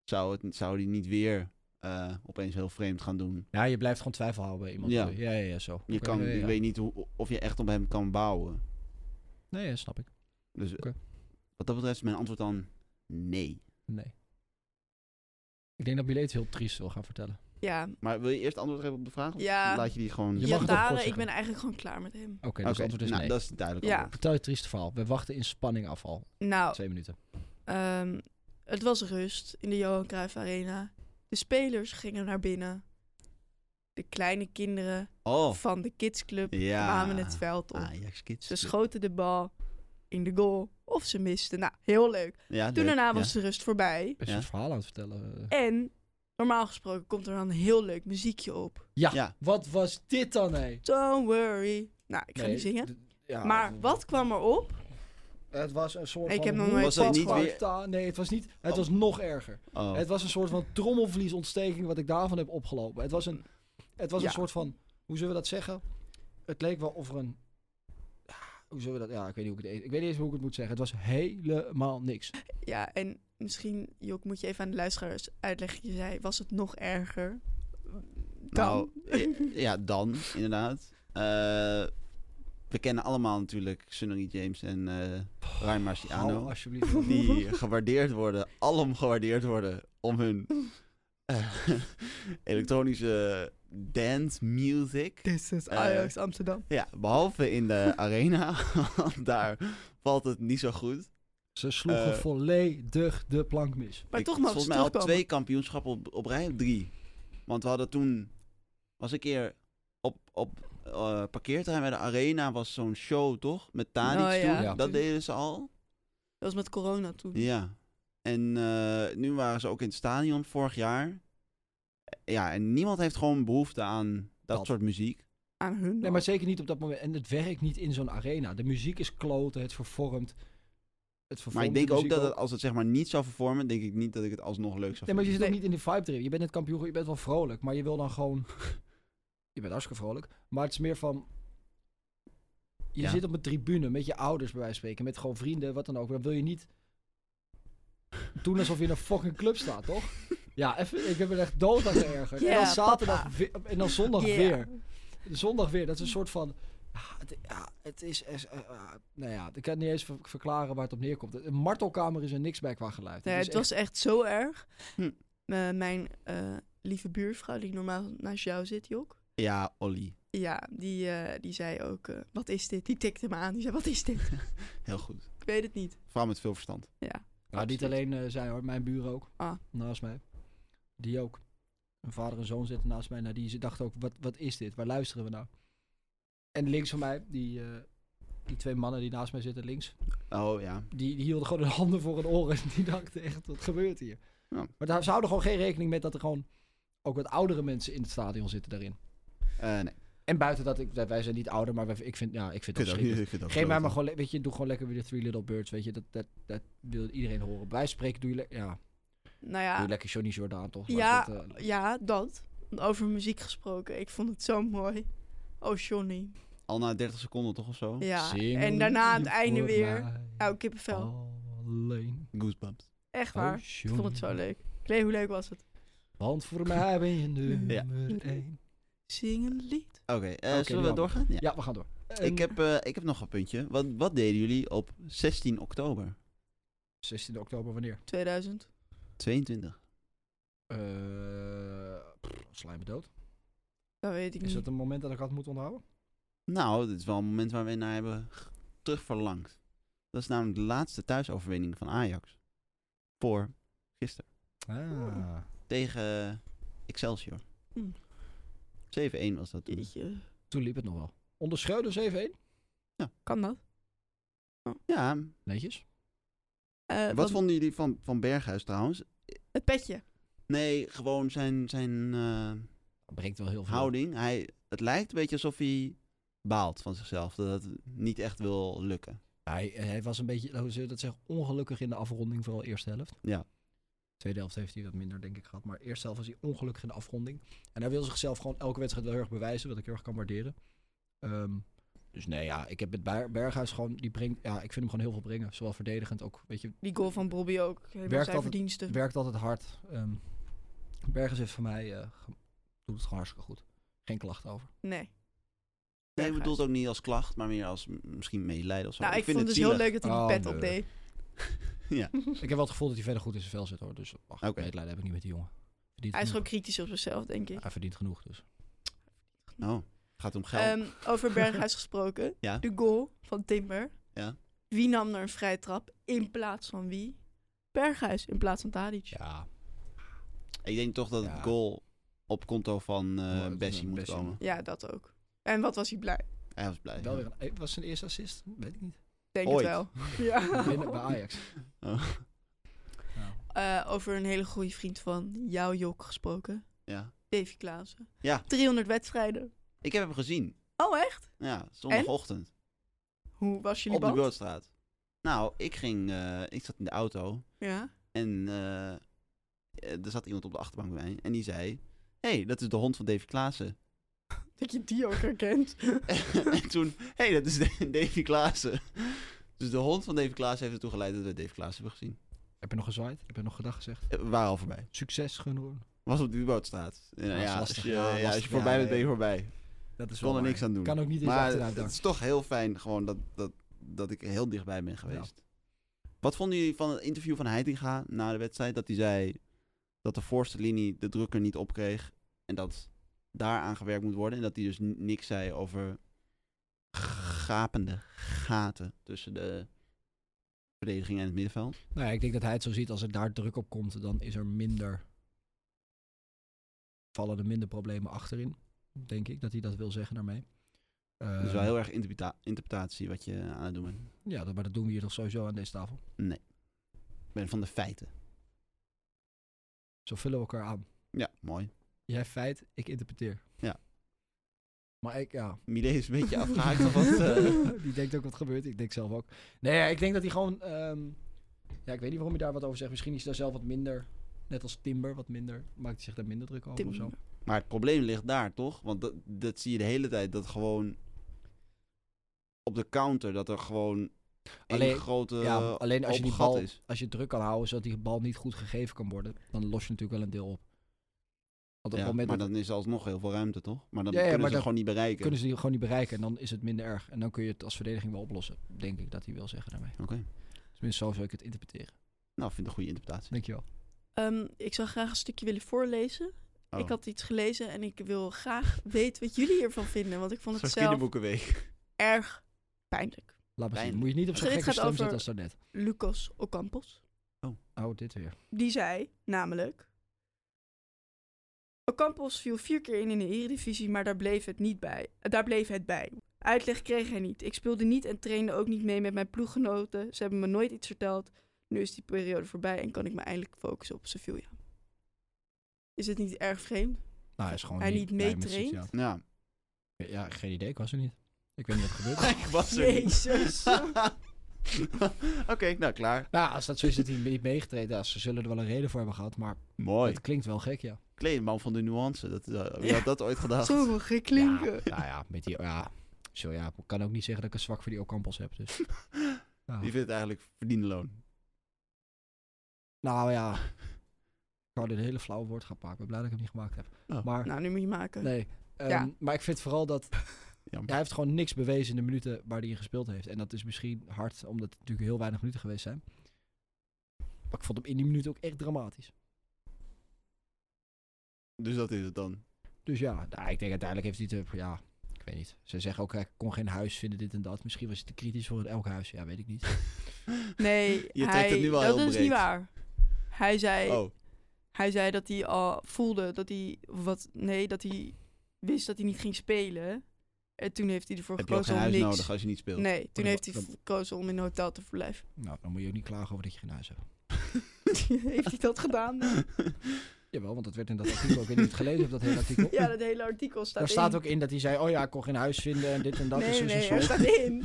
zou, het, zou die niet weer eh, opeens heel vreemd gaan doen?
Ja, je blijft gewoon twijfel houden bij iemand.
Ja.
Ja, ja, ja, ja, zo.
Je
Oké,
kan,
ja, ja.
ik weet niet hoe, of je echt op hem kan bouwen.
Nee, ja, snap ik.
Dus eh,
Oké.
wat dat betreft is mijn antwoord dan nee.
Nee. Ik denk dat Billet het heel triest wil gaan vertellen.
Ja,
Maar wil je eerst antwoord geven op de vraag? Of
Ja.
Laat je die gewoon...
Je mag het ook
Iataren,
kort
ik
zeggen.
ben eigenlijk gewoon klaar met hem.
Oké, dus het
Oké,
antwoord is
nou,
nee.
dat is duidelijk
Ja.
antwoord.
Vertel je trieste verhaal. We wachten in spanning af al.
Nou,
Twee minuten.
ehm, het was rust in de Johan Cruijff Arena. De spelers gingen naar binnen. De kleine kinderen
Oh,
van de kidsclub
ja.
kwamen het veld
Oh.
op.
Ajax Kids.
Ze schoten de bal in de goal of ze misten. Nou, heel leuk.
Ja,
Toen
leuk.
daarna
Ja.
was de rust voorbij.
Is
Ja.
het verhaal aan het vertellen?
En normaal gesproken komt er dan een heel leuk muziekje op.
Ja.
Ja.
Wat was dit dan, hé?
Don't worry. Nou, ik ga
Nee,
niet zingen.
d-
Ah,
ja,
Maar wat kwam er op?
Het was een soort
Nee, ik
van...
heb nog
hoe-
nooit
Was het niet weer-
Sparta- Nee, het was niet... Het
Oh.
was nog erger.
Oh.
Het was een soort van trommelvliesontsteking wat ik daarvan heb opgelopen. Het was een, het was
Ja.
een soort van, hoe zullen we dat zeggen? Het leek wel of er een, ja, hoe zullen we dat, ja, ik weet niet hoe ik het, ik weet niet eens hoe ik het moet zeggen. Het was helemaal niks.
Ja, en misschien, Jok, moet je even aan de luisteraars uitleggen. Je zei, was het nog erger?
Nou,
Dan.
eh, ja, dan, inderdaad. Eh, we kennen allemaal natuurlijk Sunnery James en eh Ryan
Hou
Marciano.
alsjeblieft.
die gewaardeerd worden, alom gewaardeerd worden om hun eh, elektronische dance music.
This is
eh,
Ajax Amsterdam.
Ja, behalve in de arena, want daar valt het niet zo goed.
Ze sloegen
Eh.
volledig de plank mis.
Maar
Ik-
toch mogen
Volgens
ze
mij al
terugkomen.
twee kampioenschappen op, op rij, drie. Want we hadden toen, was een keer op, op eh, parkeerterrein bij de arena, was zo'n show toch? Met Tadic
Oh, ja.
toen,
Ja.
dat deden ze al.
Dat was met corona toen.
Ja. En eh, nu waren ze ook in het stadion vorig jaar. Ja, en niemand heeft gewoon behoefte aan dat,
Dat.
soort muziek.
Aan hun.
Nee, maar zeker niet op dat moment. En het werkt niet in zo'n arena. De muziek is kloten, het vervormt. het vervormt
Maar ik
de
denk ook
muziek
dat het, als het zeg maar niet zou vervormen, denk ik niet dat ik het alsnog leuk zou
Nee, maar
vinden.
je zit ook
Nee.
niet in die vibe erin. Je bent net kampioen, je bent wel vrolijk, maar je wil dan gewoon... je bent hartstikke vrolijk, maar het is meer van... Je
Ja.
zit op een tribune met je ouders bij wijze van spreken, met gewoon vrienden, wat dan ook. Dan wil je niet doen alsof je in een fucking club staat, toch? Ja, even, ik heb er echt dood aan geërgerd. en
Ja,
dan zaterdag
papa.
weer- en dan zondag
Ja.
weer. Zondag weer, dat is een soort van... ah, het, ja, het is... is- eh, ah, nou ja, ik kan niet eens ver- verklaren waar het op neerkomt. Een martelkamer is er niks bij qua geluid.
Nee,
Het
het
is Dus echt-
was echt zo erg.
Hm.
Eh, mijn eh, lieve buurvrouw, die normaal naast jou zit, Jok.
Ja, Olly.
Ja, die, eh, die zei ook, eh, wat is dit? Die tikte me aan. Die zei, wat is dit?
Heel goed.
Ik weet het niet.
Vooral met veel verstand.
Ja.
Nou, niet alleen eh, zij hoor, mijn buren ook.
Ah.
Naast mij. Die ook. Mijn vader en zoon zitten naast mij. Nou, die dachten ook, wat, wat is dit? Waar luisteren we nou? En links van mij, die, eh, die twee mannen die naast mij zitten links,
Oh ja.
die, die hielden gewoon hun handen voor hun oren. Die dachten echt, wat gebeurt hier?
Ja.
Maar daar, ze houden gewoon geen rekening mee dat er gewoon ook wat oudere mensen in het stadion zitten daarin.
Eh, nee.
En buiten dat, ik, wij zijn niet ouder, maar wij- ik vind, ja, ik vind het
Ik vind het ook
verschrikkelijk.
niet- ik vind het ook
Geen mij maar
kloten.
gewoon, le- weet je, doe gewoon lekker weer de Three Little Birds, weet je. Dat, dat, dat wil iedereen horen. Bij wijze van spreken doe je, le- ja,
Nou
Doe
ja,
lekker Johnny Jordaan, toch? Maar
Ja,
dat, eh,
ja, dat. Want Over muziek gesproken, ik vond het zo mooi. Oh, Johnny.
Al na 30 seconden toch of zo?
Ja.
zing
En daarna aan het
je
einde
voor
weer.
mij
Nou, kippenvel.
Alleen.
Goosebumps.
Echt
Oh,
waar. Ik vond het zo
Johnny,
leuk. Klee, hoe leuk was het?
Want voor mij ben je nummer
Ja.
1.
Zing een lied.
Oké, eh, zullen we
jammer.
doorgaan? Ja.
Ja, we gaan door. En
Ik, heb, eh, ik heb nog een puntje. Wat, wat deden jullie op 16 oktober
16 Ehm, oktober wanneer?
2000.
22?
Eh pff, sla je me dood.
Dat weet ik
Is
niet.
dat een moment dat ik had moeten onthouden?
Nou, dit is wel een moment waar we naar hebben g- terugverlangd. Dat is namelijk de laatste thuisoverwinning van Ajax. Voor gisteren.
Ah.
Tegen eh, Excelsior.
Hm.
7-1 was dat toen.
Jeetje.
Toen liep het nog wel. Onder Schreuders even 1.
Kan dat?
Ja,
Netjes.
Eh,
wat
want-
vonden jullie van, van Berghuis trouwens?
Het petje.
Nee, gewoon zijn, zijn eh,
Dat brengt wel heel veel.
houding. Hij, het lijkt een beetje alsof hij baalt van zichzelf. Dat
Hmm.
het niet echt wil lukken.
Hij, eh, hij was een beetje, hoe zullen we dat zeggen, ongelukkig in de afronding, vooral eerste helft.
Ja.
Tweede helft heeft hij wat minder, denk ik, gehad. Maar eerste helft was hij ongelukkig in de afronding. En hij wil zichzelf gewoon elke wedstrijd wel heel erg bewijzen, wat ik heel erg kan waarderen. Ehm, dus nee, ja, ik heb met Ber- Berghuis gewoon, die brengt, ja, ik vind hem gewoon heel veel brengen. Zowel verdedigend ook, weet je,
Die goal van Bobby ook. Helemaal
Werkt
zijn
altijd-
verdiensten.
werkt altijd hard. Ehm Berghuis heeft voor mij, eh, ge- doet het gewoon hartstikke goed. Geen klachten over.
Nee.
Nee, ik
Berghuis.
bedoel het ook niet als klacht, maar meer als m- misschien medelijden of zo.
Nou, ik, vond het, heel
zielig.
leuk dat hij die
Oh,
pet
nee.
opdeed.
Ja.
ik heb wel het gevoel dat hij verder goed in zijn vel zit, hoor. Dus ach,
Oké.
medelijden heb ik niet met die jongen. Verdient
Hij is gewoon
genoeg.
kritisch op zichzelf, denk ik.
Hij verdient genoeg, dus.
Oh, gaat om geld.
Ehm, over Berghuis gesproken.
Ja.
De goal van Timber.
Ja.
Wie nam er een vrije trap in plaats van wie? Berghuis in plaats van Tadic.
Ja,
ik denk toch dat
ja.
het goal op konto van eh,
Ja, dat is
Bessie
een
moet
Bessie.
komen.
Ja, dat ook. En wat was hij blij?
Hij was blij.
Wel weer een, eh, was zijn eerste assist? Weet ik niet.
Denk
Ooit.
het wel. Ja.
Binnen bij Ajax.
Oh,
Ja.
Eh, over een hele goede vriend van jouw jok gesproken.
ja.
Davy Klaassen.
Ja.
300 wedstrijden.
Ik heb hem gezien.
Oh, echt?
Ja, zondagochtend.
Hoe was jullie
Op de
band?
Broodstraat. Nou, ik ging... eh, ik zat in de auto
Ja.
en eh, eh, er zat iemand op de achterbank bij mij. En die zei... Hé, hey, dat is de hond van Davy Klaassen.
Dat je die ook herkent.
en toen... Hé, hey, dat is de- Davy Klaassen. Dus de hond van Davy Klaassen heeft ertoe geleid dat we Davy Klaassen hebben gezien.
Heb je nog gezwaaid? Heb je nog gedag gezegd?
Eh, We waren al voorbij.
Succes genoeg.
Was op de bootstraat. Ja,
Ja,
ja,
is
als,
lastig,
je,
ja,
ja, als
lastig,
je voorbij
ja,
bent, ben je
nee.
voorbij.
Dat is
Ik kon er niks aan doen.
Kan ook niet in zijn
maar
achteruit
het
danken.
is toch heel fijn gewoon dat, dat, dat ik heel dichtbij ben geweest. Wat vonden jullie van het interview van Heitinga na de wedstrijd? Dat hij zei dat de voorste linie de drukker niet opkreeg. En dat daaraan gewerkt moet worden. En dat hij dus n- niks zei over gapende gaten tussen de verdediging en het middenveld.
Nou ja, ik denk dat hij het zo ziet. Als er daar druk op komt, dan is er minder... Vallen er minder problemen achterin. Denk ik dat hij dat wil zeggen daarmee. Eh,
dat is wel heel erg interpreta- interpretatie wat je aan het doen bent.
Ja, dat- maar dat doen we hier toch sowieso aan deze tafel.
Ik ben van de feiten.
Zo vullen we elkaar aan.
Ja, mooi.
Jij feit, ik interpreteer. Maar ik, ja.
Milé is een beetje afgehaakt of wat. eh,
die denkt ook wat gebeurt. Ik denk zelf ook. Nee, ja, ik denk dat hij gewoon. ehm, ja, ik weet niet waarom je daar wat over zegt. Misschien is hij daar zelf wat minder. Net als Timber, wat minder. Maakt hij zich daar minder druk over of zo?
Timber.
maar het probleem ligt daar, toch? Want dat, dat zie je de hele tijd. Dat gewoon op de counter, dat er gewoon
Alleen-
één grote
ja, alleen als je die
open Eh, gat
bal.
is.
Als je druk kan houden zodat die bal niet goed gegeven kan worden. Dan los je natuurlijk wel een deel op. Want op het
Ja,
moment
maar
dat-
dan is er alsnog heel veel ruimte, toch? Maar dan
Ja, ja,
kunnen
maar
ze
dat-
gewoon niet bereiken.
kunnen ze die gewoon niet bereiken. En dan is het minder erg. En dan kun je het als verdediging wel oplossen. Denk ik dat hij wil zeggen daarmee.
Oké.
Tenminste, zo zou ik het interpreteren.
Nou, ik vind het een goede interpretatie.
Dankjewel.
Ehm, ik zou graag een stukje willen voorlezen.
Oh.
Ik had iets gelezen en ik wil graag weten wat jullie hiervan vinden. Want ik vond het
Zo'n
zelf
kinderboekenweek.
erg pijnlijk.
Laat me zien.
Pijn.
Moet je niet op zo'n
Dit
gekke
gaat
stem
over-
zetten als daarnet.
Lucas Ocampos.
Oh, dit weer.
Die zei namelijk... Ocampos viel vier keer in in de eredivisie, maar daar bleef het niet bij. eh, Daar bleef het bij. Uitleg kreeg hij niet. Ik speelde niet en trainde ook niet mee met mijn ploeggenoten. Ze hebben me nooit iets verteld. Nu is die periode voorbij en kan ik me eindelijk focussen op Sevilla. Is het niet erg vreemd?
Nou, hij is gewoon
Hij
niet,
niet
blij met
meetraint?
zichzelf.
Ja.
Ja, geen idee. Ik was er niet. Ik weet niet wat er gebeurt.
Ik was er niet.
Jezus.
Oké, nou klaar.
nou, als dat zo is dat hij niet meegetreden is, ze zullen er wel een reden voor hebben gehad. Maar
Mooi.
het klinkt wel gek, ja.
Kleedman van de nuance. Dat, eh, wie
Ja.
had dat ooit gedacht?
Zo wil gek klinken.
Ja, nou ja, met die... Ja, zo ja, ik kan ook niet zeggen dat ik een zwak voor die Ocampos heb. Dus. Nou, Ja.
Die vindt het eigenlijk verdiende loon.
Nou ja, ik zou dit een hele flauwe woord gaan pakken. Ik ben blij dat ik hem niet gemaakt heb.
Oh.
Maar
Nou, nu moet je maken.
nee, ehm,
Ja.
maar ik vind vooral dat
Jammer.
hij heeft gewoon niks bewezen in de minuten waar hij in gespeeld heeft. En dat is misschien hard, omdat het natuurlijk heel weinig minuten geweest zijn. Maar ik vond hem in die minuten ook echt dramatisch.
Dus dat is het dan.
Dus ja, nou, ik denk uiteindelijk heeft hij het... eh, Ja, ik weet niet. Ze zeggen ook, hij kon geen huis vinden, dit en dat. Misschien was hij te kritisch voor elk huis. Ja, weet ik niet.
Nee,
Je trekt
hij,
het nu wel
dat
heel
is
breed.
niet waar. Hij zei,
Oh,
hij zei dat hij al voelde dat hij wat nee dat hij wist dat hij niet ging spelen. En toen heeft hij ervoor
heb je ook
gekozen
geen
om
huis
niks.
nodig als je niet speelt?
Nee, toen
dan-
heeft hij
dan-
gekozen om in een hotel te verblijven.
Nou, dan moet je ook niet klagen over dat je geen huis hebt.
heeft hij dat gedaan?
Jawel, want dat werd in dat artikel... Ik weet niet of je het gelezen hebt, dat hele artikel.
Ja, dat hele artikel staat
Daar
in.
staat ook in dat hij zei, oh ja, ik kon geen huis vinden en dit en dat. en
nee,
zo,
nee,
zo,
er
zo.
staat in.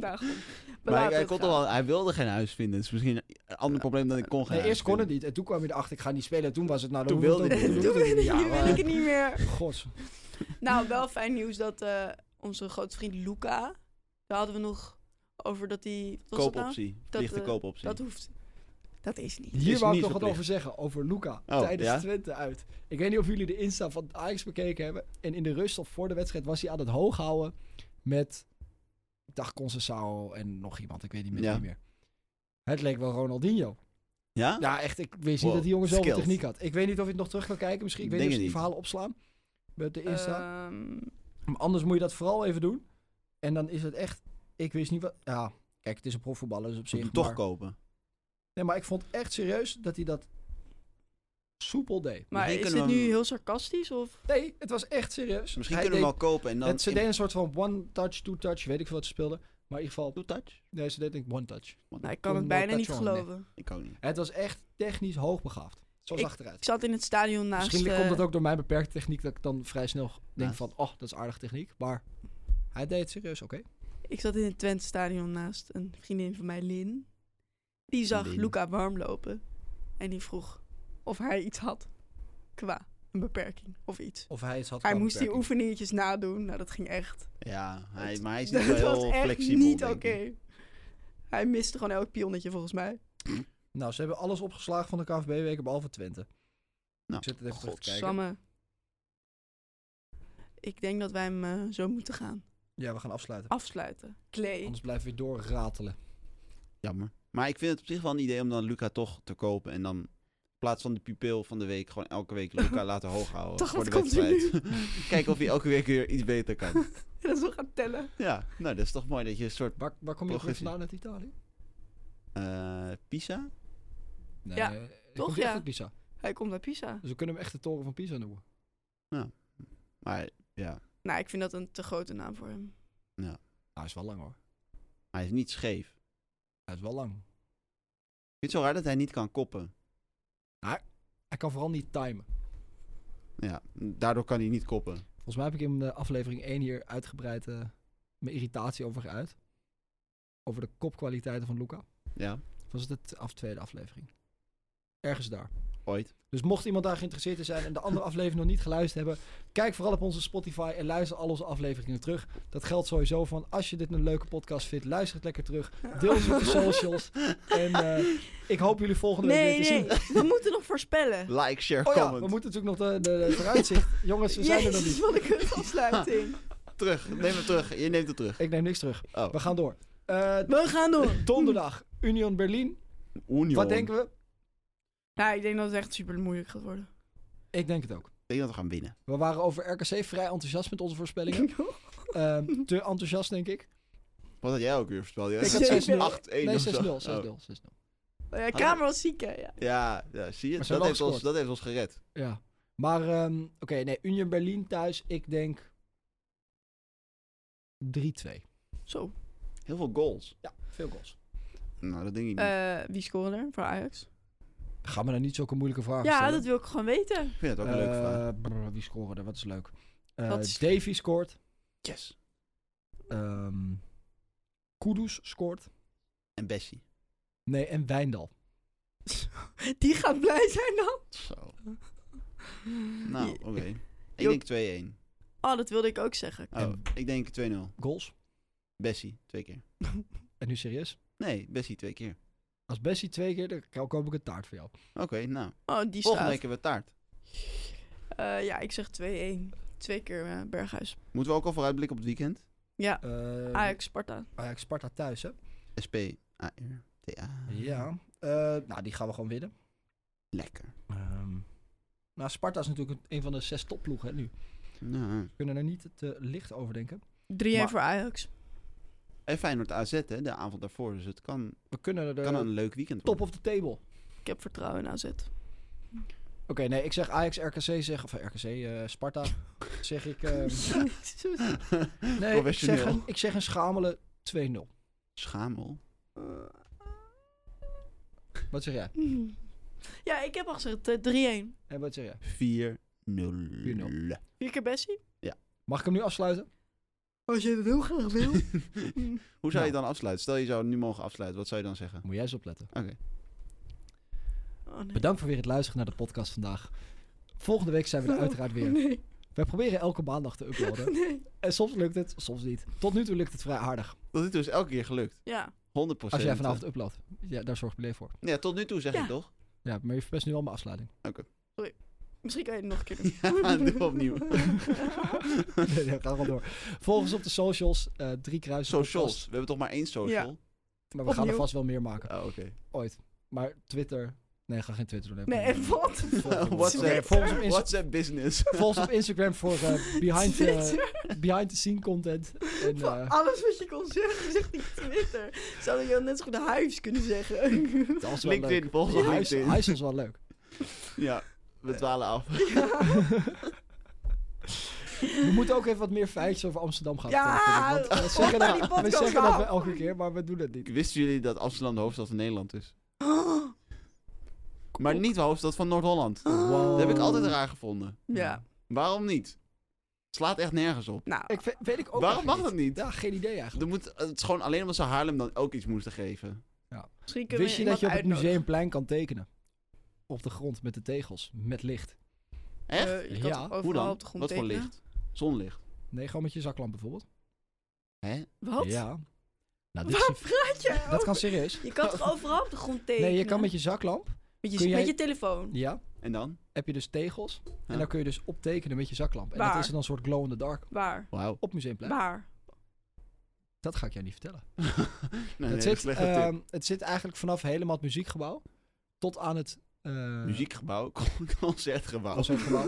nou goed. We
Maar hij,
laten
hij
het
kon
gaan.
toch wel, hij wilde geen huis vinden. Het is misschien een ander probleem dan ik kon gaan.
Nee, eerst kon het niet en toen kwam je erachter, ik ga niet spelen. En toen was het, nou, dan
Toen
hoeft het
wilde
ook
hij
niet.
het.
Toen wilde hij het niet. Ja,
Nu wil ik het niet meer.
maar- Gods.
Nou, wel fijn nieuws dat eh, onze grote vriend Luca. Daar hadden we nog over dat hij. wat was het nou?
Koopoptie.
Dat,
Verplichte
eh,
koopoptie.
Dat hoeft. Dat is niet.
Hier
Is
wou ik
niet
nog wat
verplicht.
over zeggen, over Luca
Oh,
tijdens
ja?
Twente uit. Ik weet niet of jullie de Insta van Ajax bekeken hebben. En in de rust of voor de wedstrijd was hij aan het hoog houden met, ik dacht Concessao en nog iemand, ik weet niet meer.
Ja.
Niet meer. Het leek wel Ronaldinho.
Ja?
Ja, echt, ik wist
Ah. Wow,
niet dat die jongen zoveel
skilled.
techniek had. Ik weet niet of je het nog terug kan kijken, misschien. Ik weet
Denk
niet of ze die
het niet.
verhalen opslaan met de Insta.
Ehm,
Maar anders moet je dat vooral even doen. En dan is het echt, ik wist niet wat, ja, kijk, het is een profvoetballer, dus op
Ze
zich.
toch
maar-
kopen.
Nee, maar ik vond echt serieus dat hij dat soepel deed.
maar
Misschien
is
kunnen
dit
we
nu
hem-
heel sarcastisch? Of?
Nee, het was echt serieus.
Misschien
Hij
kunnen we hem
deed-
wel kopen en dan...
het, Ze deden een soort van one-touch, two-touch, weet ik veel wat ze speelden. Maar in ieder geval,
touch?
nee, ze deden one-touch.
Nou, ik kan het
Toen
bijna
Lotta
niet
John,
geloven.
Ik ook niet.
Het was echt technisch hoogbegaafd. Zo zag het
Ik
eruit.
zat in het stadion naast...
Misschien
eh,
komt dat ook door mijn beperkte techniek, dat ik dan vrij snel denk
Naast.
van, oh, dat is aardig techniek. Maar hij deed het serieus, oké.
Ik zat in het Twente stadion naast een vriendin van mij, Lin. Die zag
Lin.
Luca warm lopen. En die vroeg of hij iets had qua een beperking of iets.
Of hij het had
Hij
qua
moest die
beperking.
oefeningetjes nadoen. Nou, dat ging echt.
Ja, hij,
Dat-
maar hij is niet
dat
wel
was
heel
echt
flexibel,
niet oké.
denk ik.
Hij miste gewoon elk pionnetje volgens mij.
Nou, ze hebben alles opgeslagen van de KVB-weken, behalve Twente.
Nou,
ik zit het even terug te kijken.
Samme. Ik denk dat wij hem eh, zo moeten gaan
Ja, we gaan afsluiten.
afsluiten. Klee.
Anders blijven we weer doorratelen.
Jammer. Maar ik vind het op zich wel een idee om dan Luca toch te kopen en dan in plaats van de pupil van de week gewoon elke week Luca laten hoog houden
Toch,
voor de
wat komt er
wedstrijd. Kijken of hij elke week weer iets beter kan.
Dat is wel gaan tellen.
Ja, nou dat is toch mooi dat je een soort
Waar, waar kom je ook weer
Progressie.
vandaan uit Italië?
eh, Pisa.
Nee,
Ja,
eh,
toch,
komt echt
ja.
uit Pisa.
Hij komt naar Pisa.
Dus we kunnen hem echt de toren van Pisa noemen. Ah,
Maar ja,
Nou, ik vind dat een te grote naam voor hem.
Hij is wel lang hoor.
hij is niet scheef. Ik
Hij is wel lang.
vind het zo raar dat hij niet kan koppen.
Hij kan vooral niet timen.
Ja, daardoor kan hij niet koppen.
Volgens mij heb ik in de aflevering 1 hier uitgebreid eh, mijn irritatie over geuit. Over de kopkwaliteiten van Luca.
Ja,
Was het de t- af tweede aflevering? Ergens daar.
ooit.
Dus mocht iemand daar geïnteresseerd in zijn en de andere aflevering nog niet geluisterd hebben, kijk vooral op onze Spotify en luister al onze afleveringen terug. Dat geldt sowieso van als je dit een leuke podcast vindt, luister het lekker terug. Deel ze op de socials. En eh, ik hoop jullie volgende
Nee,
week weer te
nee.
zien.
We moeten nog voorspellen.
Like, share,
Oh ja, we
comment.
moeten natuurlijk nog de, de, de vooruitzicht. Jongens, we zijn er nog
Jezus,
niet.
wat een kut afsluiting.
Terug, neem het terug. Je neemt het terug.
Ik neem niks terug.
Oh.
We gaan door. Eh,
We gaan door.
donderdag, Union Berlin.
Union.
Wat denken we?
Ja, Nou, ik denk dat het echt super moeilijk gaat worden.
Ik denk het ook.
Ik denk dat we gaan winnen.
We waren over RKC vrij enthousiast met onze voorspellingen. Ehm, te enthousiast, denk ik.
Wat had jij ook weer voorspeld?
Ik
had 6-0.
8 1
Nee, 6-0. 6-0.
6-0.
6-0.
Oh ja, Kamer was ziek, hè? Ja.
Ja, ja, zie je?
Maar ze
Dat
hebben
heeft,
wel
ons,
gescoord.
dat heeft ons gered.
Ja. Maar, ehm, oké, nee, Union Berlin thuis, ik denk 3-2.
Zo.
Heel veel goals.
Ja, veel goals.
Nou, dat denk ik niet.
Eh, wie scoorde er voor Ajax?
Ga me nou niet zulke moeilijke vragen
Ja,
stellen.
dat wil ik gewoon weten.
ik vind het ook een leuke vraag.
Eh, brr, wie scoren er? Wat is leuk? Eh,
Wat is-
Davy scoort.
Yes.
Ehm Kudus scoort.
En Bessie.
Nee, en Wijndal.
Die gaat blij zijn dan.
Zo. Nou, oké.
Jo.
Ik denk 2-1.
Oh, dat wilde ik ook zeggen.
Oh,
En-
ik denk 2-0.
Goals.
Bessie, twee keer.
En nu serieus?
Nee, Bessie twee keer.
Als Bessie twee keer, dan koop ik een taart voor jou.
Oké, nou.
Oh, die
Volgende
staat.
week hebben we taart.
Eh, ja, ik zeg 2-1. Twee keer eh, Berghuis.
Moeten we ook al vooruitblikken op het weekend?
Eh,
Ajax, Sparta.
Ajax Sparta thuis, hè?
Mhm. SP, AR, TA.
Ja. Eh, nou, die gaan we gewoon winnen.
Lekker.
Ehm, nou, Sparta is natuurlijk een- een van de zes topploegen hè, nu.
Nou.
We kunnen er niet te licht over denken.
3-1
Maar-
voor Ajax.
En Feyenoord AZ, hè, de avond daarvoor. Dus het kan,
We kunnen er
kan een leuk weekend
Eh, top
worden.
of the table. Oké,
Ik heb vertrouwen in AZ.
nee, ik zeg Ajax RKC zeg, of RKC eh, Sparta, zeg ik. ehm,
Jezus.
nee, ik zeg,
Professioneel.
een, ik zeg een schamele 2-0.
Schamel.
Eh,
Wat zeg jij?
mm. ja, ik heb al gezegd eh, 3-1.
En wat zeg jij?
4-0.
Vier keer Bessie.
Mag ik hem nu afsluiten?
Als je dat heel graag wil.
Hoe zou
Nou.
je dan afsluiten? Stel je zou nu mogen afsluiten, wat zou je dan zeggen?
Moet jij eens opletten.
Oké.
oh, nee.
Bedankt voor weer het luisteren naar de podcast vandaag. Volgende week zijn we er uiteraard weer.
Nee.
We proberen elke maandag te uploaden.
nee.
En soms lukt het, soms niet. Tot nu toe lukt het vrij aardig.
Dat is dus elke keer gelukt. 100%.
Ja.
Als jij vanavond uploadt. Ja, daar zorg ik beleefd voor.
Eh, Ja, tot nu toe zeg
Ja.
ik toch?
Ja, maar je verpest nu al mijn afsluiting.
Misschien kan je het nog een keer doen.
Ja, doe opnieuw.
nee, nee, ga gewoon door. Volg ons op de socials. eh drie kruisen.
Socials.
podcast.
We hebben toch maar één social?
Maar we gaan er
Opnieuw.
vast wel meer maken.
Oh, oké.
Ooit. Maar Twitter... Nee, ga geen Twitter doen.
Nee, en wat?
Volg ons.
WhatsApp.
Volg ons op Insta-
WhatsApp business.
Volg ons op Instagram voor eh, behind, the,
Twitter.
behind the scene content. En,
Van
eh,
alles wat je kon zeggen, zegt hij Twitter. Zou je net zo goed de huis kunnen zeggen?
dat is wel
LinkedIn,
leuk.
volg ons op
Hij is-
LinkedIn.
Hij is ons wel leuk.
Ja, we dwalen af.
We moeten ook even wat meer feitjes over Amsterdam gaan
Ja,
vertellen, vind ik, want we
op
zeggen,
naar die
dat, we
podcast
zeggen dat we
af.
elke keer, maar we doen het niet.
Wisten jullie dat Amsterdam de hoofdstad van Nederland is?
Oh,
Maar niet de hoofdstad van Noord-Holland. Dat heb ik altijd raar gevonden.
Ja,
Waarom niet? Het slaat echt nergens op.
nou.
Ik weet, weet ik ook
Waarom mag
eigenlijk
dat niet?
Ja, geen idee eigenlijk.
Er moet, het is gewoon alleen omdat ze Haarlem dan ook iets moesten geven.
Misschien kunnen
Wist
we
je dat je op het
iemand uitnodigen.
museumplein kan tekenen? Op de grond met de tegels, met licht.
Echt?
Eh, je kan
Ja,
toch
Hoe
overal
dan?
op de grond
Wat voor
tekenen?
licht? Zonlicht.
Nee, gewoon met je zaklamp bijvoorbeeld.
Hè?
Wat?
Ja. Nou, dit is
Waar
een-
praat jij over?
dat kan serieus.
Je kan toch overal op de grond tekenen?
Nee, je kan met je zaklamp,
Met je,
kun jij-
met je telefoon.
ja,
En dan?
heb je dus tegels.
Ja.
En dan kun je dus optekenen met je zaklamp. En dat
Waar?
is dan een soort glow in the dark
Waar?
Wauw.
op museumplein.
Waar?
Dat ga ik jou niet vertellen.
nee, nee,
het,
dat is een
zit,
slechte tip.
ehm, het zit eigenlijk vanaf helemaal het muziekgebouw tot aan het... eh,
Muziekgebouw, concertgebouw.
Concertgebouw.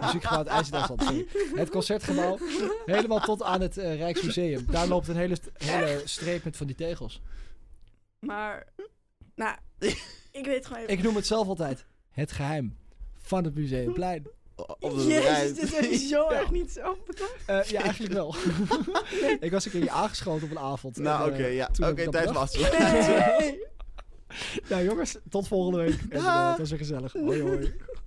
Muziekgebouw het IJzerdansland, sorry. Het Concertgebouw, helemaal tot aan het eh, Rijksmuseum. Daar loopt een hele, st- hele streep met van die tegels.
Maar, nou, ik weet gewoon even...
Ik noem het zelf altijd het geheim van het Museumplein.
Of de bedrijf.
Jezus, dit heb je zo
Ja.
erg niet zo bedacht.
Eh, ja, eigenlijk wel. ik was een keer hier aangeschoten op een avond.
Nou,
En,
oké,
eh,
ja.
toen
Oké,
heb ik dat
tijd voor
bedacht.
afsluiten.
Nee.
Nou jongens, tot volgende week. En, eh, het was weer gezellig. Hoi hoi.